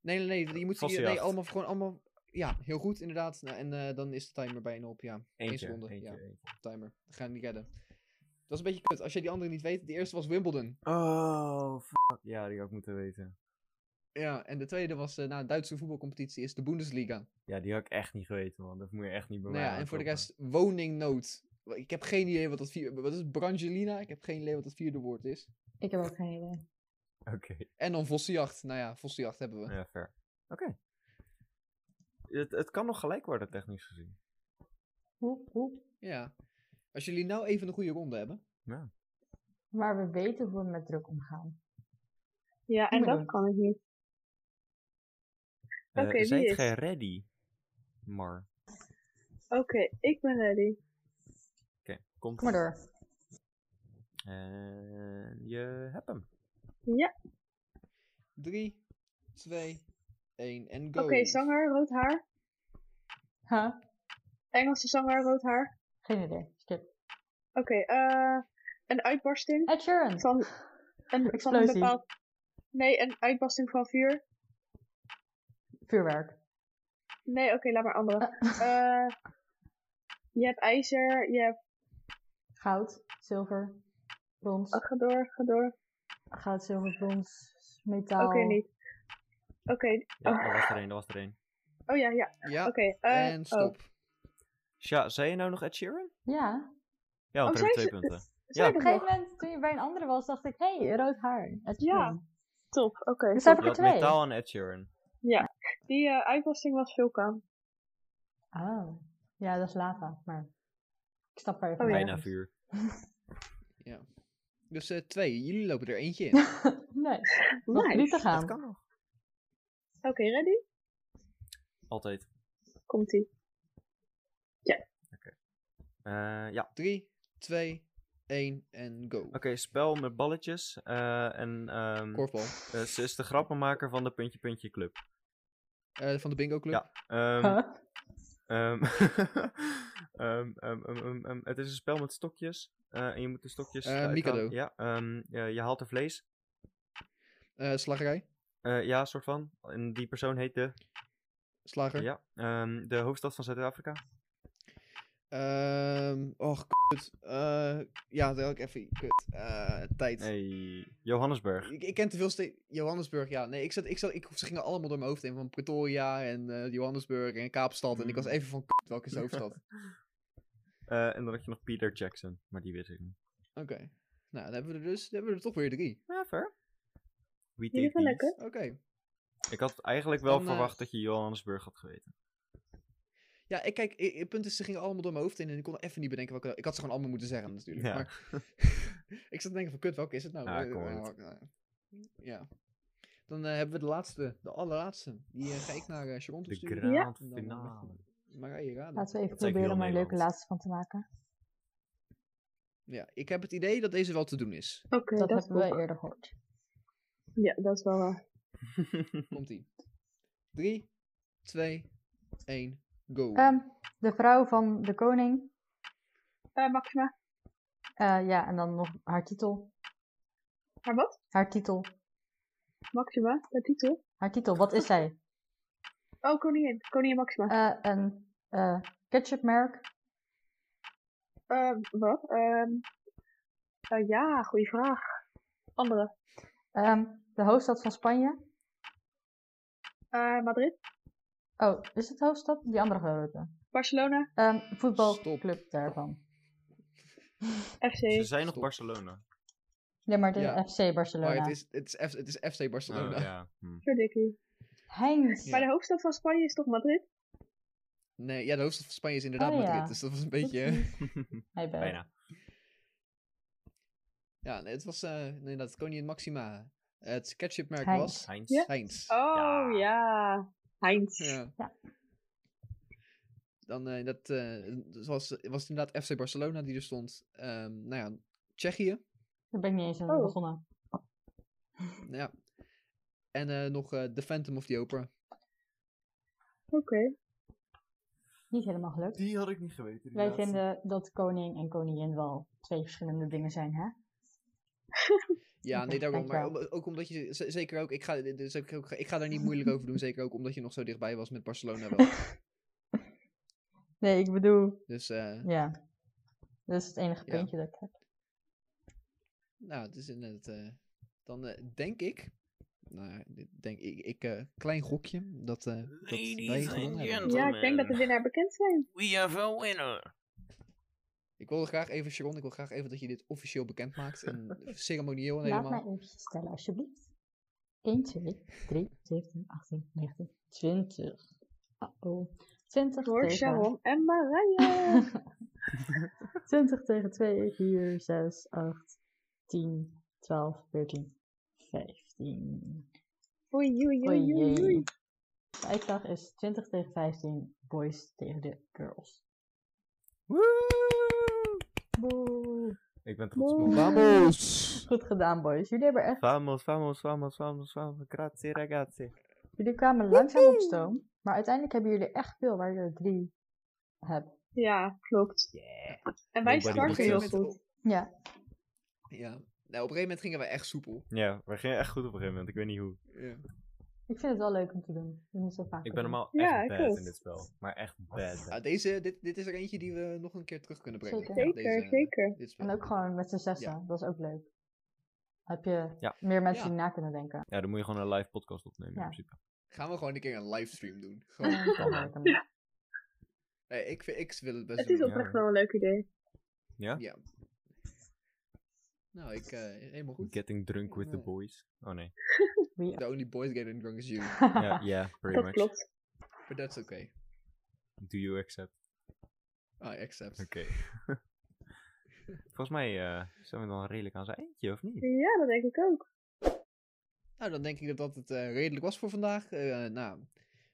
Nee, nee, nee, die moet je nee,
vossenjacht.
allemaal gewoon allemaal. Ja, heel goed, inderdaad. Nou, en eh, dan is de timer bijna op, ja. Eén
Eentje,
seconde,
eentje,
ja,
eentje.
timer. Dat ga je niet redden. Dat is een beetje kut, als je die andere niet weet. De eerste was Wimbledon.
Oh, fuck. Ja, die had ik moeten weten.
Ja, en de tweede was, eh nou, Duitse voetbalcompetitie is de Bundesliga.
Ja, die had ik echt niet geweten, man. Dat moet je echt niet bij
Nou
mij
ja, en voor de
aankopen.
rest, woningnood. Ik heb geen idee wat dat vierde... Wat is het? Brangelina? Ik heb geen idee wat dat vierde woord is.
Ik heb ook geen idee.
Oké.
En dan vossenjacht. Nou ja, vossenjacht hebben we.
Ja, fair. Oké. Het, het kan nog gelijk worden, technisch gezien.
Hoep, hoep.
Ja. Als jullie nou even een goede ronde hebben.
Maar we weten hoe we met druk omgaan.
Ja, en dat
Inderdaad.
kan ik niet.
Eh,
Oké, wie
zijt
is?
gij ready? Mar.
Oké, ik ben ready.
Oké, komt.
Kom maar door.
En je hebt hem.
3, 2, 1 en
Oké,
go.
zanger, rood haar.
Huh?
Engelse zanger, rood haar.
Geen idee. Skip.
Oké, eh een uitbarsting
Ed Sheeran.
van een, van een
Explosie.
bepaald... Nee, een uitbarsting van vuur.
Vuurwerk.
Nee, oké, laat maar andere. Eh, je hebt ijzer, je hebt...
Goud, zilver, brons.
Oh, ga door, ga door.
Goud, zilver, brons,
Oké,
metaal.
niet. Oké,
Ja,
Oh.
dat was er één, dat was er één.
oh ja, ja.
Ja,
Oké, eh,
en
oh.
stop.
Sja, zei je nou nog Ed Sheeran?
Ja.
Ja, want dan heb
Oh,
je
zei
twee punten.
Zei
Ja.
Op
dat
een gegeven
nog?
moment, toen je bij een andere was, dacht ik, hé, hey, rood haar. Ed
Ja.
Sheeran.
Top, oké.
Dus
top.
heb ik
Je
er
had
twee.
metaal en Ed Sheeran.
Die eh uitbarsting was vulkaan.
Oh. Ja, dat is lava, maar ik snap waar je
Oh, ja.
Bijna vuur.
Dus eh, twee. Jullie lopen er eentje in.
Nee, nog drie
Nice.
te gaan.
Dat kan nog.
Oké, ready?
Altijd.
Komt-ie.
Eh, ja.
3, 2, 1 en go.
Oké, spel met balletjes. eh, en ehm,
Korfbal.
eh, ze is de grappenmaker van de Puntje Puntje Club.
Eh, van de bingo club.
Ja. Ehm,
Huh?
ehm, ehm, ehm, ehm, ehm, ehm, het is een spel met stokjes. eh, en je moet de stokjes.
Eh,
eruit
Mikado.
halen. Ja, ehm, ja, je haalt er vlees.
Eh, slagerij.
Eh, ja, soort van. En die persoon heet de.
Slager.
Ja, ehm, de hoofdstad van Zuid-Afrika.
Ehm, och, kut. Eh, ja, dat had ik even. Kut. Eh, tijd.
Hey, Johannesburg.
Ik, ik ken te veel steden. Johannesburg, ja. Nee, ik zat, ik zat, ik, ze gingen allemaal door mijn hoofd heen. Van Pretoria en eh, Johannesburg en Kaapstad. En ik was
Mm.
even van, kut, welke is de hoofdstad?
Eh, en dan had je nog Peter Jackson, maar die wist ik niet.
Oké. Nou, dan hebben we er dus, dan hebben we er toch weer drie.
Ja, ver. We
Jullie
take
gaan
these.
lekker.
Oké.
Ik had eigenlijk wel
Dan, eh,
verwacht dat je Johannesburg had geweten.
Ja, ik, kijk, i- het punt is, ze gingen allemaal door mijn hoofd heen en ik kon even niet bedenken welke... Ik had ze gewoon allemaal moeten zeggen natuurlijk,
Ja.
maar... ik zat te denken van, kut, welke is het nou?
Ja,
Eh,
ik hoor
eh, eh, ja. Dan eh, hebben we de laatste, de allerlaatste. Die eh, ga ik naar eh Sharon toe
De
sturen.
Ja.
grand
En dan, eh,
finale.
Marije raden.
Laten we even
Dat zei ik
proberen
heel
om er een leuke
Nederland.
laatste van te maken.
Ja, ik heb het idee dat deze wel te doen is.
Oké,
dat
dat, is
hebben we
goed.
eerder gehoord.
Ja, dat is wel waar.
Komt-ie. Drie, twee, één, go.
Ehm, de vrouw van de koning.
Eh, Maxima,
Eh, ja, en dan nog haar titel.
haar wat?
Haar titel.
Maxima, de titel?
Haar titel, wat is zij?
Oh, koningin. Koningin Maxima.
Eh, een eh, ketchupmerk.
Eh, wat? Ehm eh, ja, goede vraag. Andere.
Ehm, de hoofdstad van Spanje.
Eh, Madrid,
Oh, is het hoofdstad? Die andere grote.
Barcelona,
Ehm voetbalclub
Stop.
daarvan.
Ze
FC.
zijn nog
Stop.
Barcelona. Oh,
Ja, maar de
Ja.
FC
Maar
Barcelona.
het is, het, is F, het is FC Barcelona.
Oh, ja. hm.
Verdikkie.
Heinz.
Ja.
Maar de hoofdstad van Spanje is toch Madrid?
Nee, ja, de hoofdstad van Spanje is inderdaad
Oh, ja.
Madrid, dus dat was een beetje...
Hij bij.
Bijna.
Ja, nee, het was eh inderdaad koningin Maxima. Het ketchupmerk
Heinz.
was
Heinz.
Ja.
Heinz.
Oh,
Ja.
ja. Heinz.
Ja.
Ja.
Dan eh, dat, eh, dus was, was het inderdaad FC Barcelona die er stond. Ehm, nou ja, Tsjechië.
Daar ben ik niet eens aan
Oh.
begonnen.
Ja. En eh, nog eh, The Phantom of the Opera.
Oké.
Niet helemaal gelukt.
Die had ik niet geweten.
Wij vinden dat koning en koningin wel twee verschillende dingen zijn, hè?
Ja,
Oké,
nee, daarom. Maar
dankjewel.
om- ook omdat je, z- zeker ook, ik ga, dus ook, ook- ik ga daar niet moeilijk over doen. Zeker ook omdat je nog zo dichtbij was met Barcelona wel.
Nee, ik bedoel...
Dus, eh,
Ja. Dat is het enige
Ja.
puntje dat ik heb.
nou, het is inderdaad. eh, dan eh, denk ik, nou, dit denk ik, ik eh, klein gokje, dat, eh dat wij gewonnen hebben.
Ja, ik denk dat de winnaar bekend zijn.
We have a winner.
Ik wil graag even, Sharon, ik wil graag even dat je dit officieel bekend maakt. En ceremonieel en
Laat
helemaal.
mij eventjes tellen, alsjeblieft. 1, 2, 3, 17, 18, 19, 20. Uh-oh. 20
Door
Oh, tegen...
Sharon en Marije.
20 tegen 2, 4, 6, 8, 10, 12, 14, 15.
Oei, oei, oei, oei,
Oei,
oei.
jee. De uitslag is 20 tegen 15, boys tegen de girls.
Woe!
Boe.
Ik ben trots op
Woe.
ons.
Vamos!
Goed gedaan, boys. Jullie, hebben echt,
Vamos, vamos, vamos, vamos, vamos. Grazie ragazzi.
jullie kwamen langzaam op stoom, maar uiteindelijk hebben jullie echt veel waar je er drie hebt.
Ja, klopt. En wij
Nobody would
starten heel
Heel
goed.
Ja,
Ja. Nou, op een gegeven moment gingen we echt soepel.
Ja, we gingen echt goed op een gegeven moment. Ik weet niet hoe.
Ja.
ik vind het wel leuk om te doen. Je moet zo vaak
Ik ben normaal echt
Ja, ik
bad
ook.
in dit spel. Maar echt bad.
Ah, deze, dit, dit is er eentje die we nog een keer terug kunnen brengen.
Zeker.
Ja,
Zeker,
deze-
zeker.
Dit spel.
En ook gewoon met z'n zessen,
Ja.
dat is ook leuk. Heb je
Ja.
meer mensen
Ja.
die na kunnen denken.
Ja, dan moet je gewoon een live podcast opnemen
Ja.
in principe.
Gaan we gewoon een keer een livestream doen. Gewoon.
Ja, dat kan wel, kan wel.
Nee, ik, vind- ik wil het best
Het is
doen.
op-
oprecht wel een leuk idee.
Ja?
Ja. Nou, ik, eh, helemaal goed.
Getting drunk with the
Nee.
boys. Oh nee.
Wie-
The only boys getting drunk is you.
Ja, yeah, pretty
Dat
much.
klopt.
But that's okay.
Do you accept?
I accept.
Oké. Volgens mij eh, zijn we dan redelijk aan zijn eindje, of niet?
Ja, dat denk ik ook.
Nou, dan denk ik dat dat het eh, redelijk was voor vandaag. Eh, nou,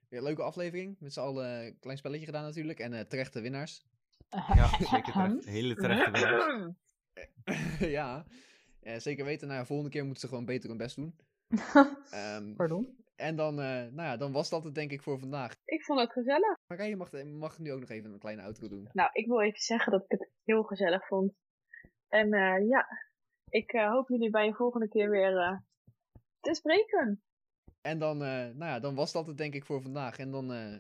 weer een leuke aflevering. Met z'n allen eh, een klein spelletje gedaan natuurlijk. En eh, terechte winnaars.
Ja, zeker terecht. Hele terechte winnaars.
ja, Eh, zeker weten. Nou, ja, volgende keer moeten ze gewoon beter hun best doen. Ehm,
Pardon?
en dan, eh, nou ja, dan was dat het denk ik voor vandaag.
Ik vond het gezellig.
Marije mag, eh, mag nu ook nog even een kleine outro doen.
Nou, ik wil even zeggen dat ik het heel gezellig vond. En eh, ja, ik eh, hoop jullie bij een volgende keer weer eh, te spreken.
En dan, eh, nou ja, dan was dat het denk ik voor vandaag. En dan eh,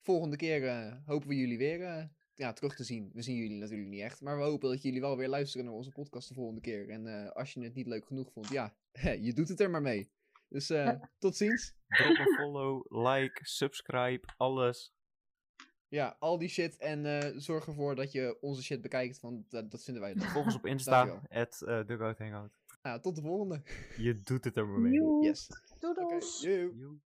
volgende keer eh, hopen we jullie weer eh, ja, terug te zien. We zien jullie natuurlijk niet echt. Maar we hopen dat jullie wel weer luisteren naar onze podcast de volgende keer. En eh, als je het niet leuk genoeg vond, ja, je doet het er maar mee. Dus eh, tot ziens.
Drop een follow, like, subscribe, alles.
Ja, al die shit. En eh, zorg ervoor dat je onze shit bekijkt, want dat, dat vinden wij leuk.
Volg ons op Insta,
Dankjewel.
at eh, Dugout Hangout.
Nou, tot de volgende.
Je doet het er maar mee.
Joe.
Yes. Oké,
Doedels!
joe.
Joe.